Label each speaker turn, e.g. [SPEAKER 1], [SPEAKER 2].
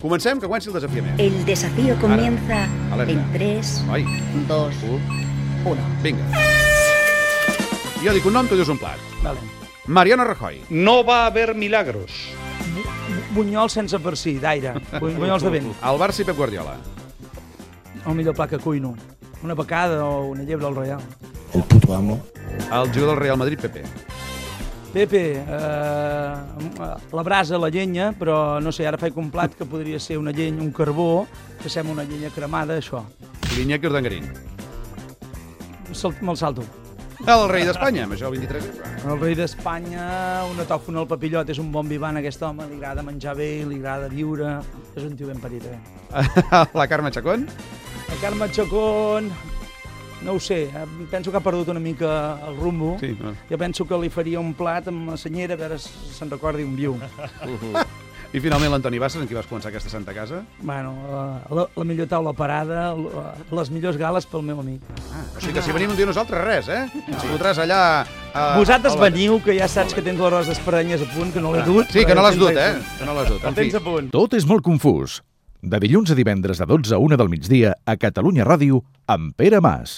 [SPEAKER 1] Comencem, que guanyi el desafiament.
[SPEAKER 2] El desafío comienza
[SPEAKER 1] alerta.
[SPEAKER 2] en 3,
[SPEAKER 1] Vai,
[SPEAKER 2] 2,
[SPEAKER 1] un,
[SPEAKER 2] 1.
[SPEAKER 1] vinga. Jo dic un nom, tu dius un plat.
[SPEAKER 3] Vale.
[SPEAKER 1] Mariano Rajoy.
[SPEAKER 4] No va a haber milagros.
[SPEAKER 3] Bu- bu- Bunyols sense farcir, d'aire. Bu- Bunyols de vent.
[SPEAKER 1] El Barça i Pep Guardiola.
[SPEAKER 3] El millor pla que cuino. Una pecada o una llebre al Royal.
[SPEAKER 5] El puto amo.
[SPEAKER 1] El jugador del Real Madrid, Pepe.
[SPEAKER 3] Pepe, eh, la brasa, la llenya, però no sé, ara faig un plat que podria ser una llenya, un carbó, que sembla una llenya cremada, això.
[SPEAKER 1] L'Iñaki Urdangarín.
[SPEAKER 3] Sal- Me'l salto.
[SPEAKER 1] El rei d'Espanya, major 23.
[SPEAKER 3] El rei d'Espanya, un atòfon al papillot, és un bon vivant aquest home, li agrada menjar bé, li agrada viure, és un tio ben petit. Eh?
[SPEAKER 1] La Carme Chacón.
[SPEAKER 3] El Carme Chacón, no ho sé, eh, penso que ha perdut una mica el rumbo.
[SPEAKER 1] Sí, no.
[SPEAKER 3] Jo penso que li faria un plat amb la senyera, a veure si se'n recordi un viu.
[SPEAKER 1] I finalment l'Antoni Bassas, amb qui vas començar aquesta santa casa.
[SPEAKER 3] Bueno, la, la, la millor taula parada, la- les millors gales pel meu amic.
[SPEAKER 1] O sigui que si venim un dia nosaltres, res, eh? Ens fotràs allà... eh, A...
[SPEAKER 3] Vosaltres
[SPEAKER 1] al-
[SPEAKER 3] veniu, que ja saps que tens les roses d'esparanyes a punt, que no l'he dut.
[SPEAKER 1] Sí, que no
[SPEAKER 3] però
[SPEAKER 1] l'has
[SPEAKER 3] el
[SPEAKER 1] dut,
[SPEAKER 3] tens
[SPEAKER 1] eh?
[SPEAKER 3] a punt.
[SPEAKER 1] Que no l'has dut. En
[SPEAKER 3] El
[SPEAKER 1] fi,
[SPEAKER 3] tens a punt.
[SPEAKER 6] Tot és molt confús. De dilluns a divendres de 12 a 1 del migdia a Catalunya Ràdio amb Pere Mas.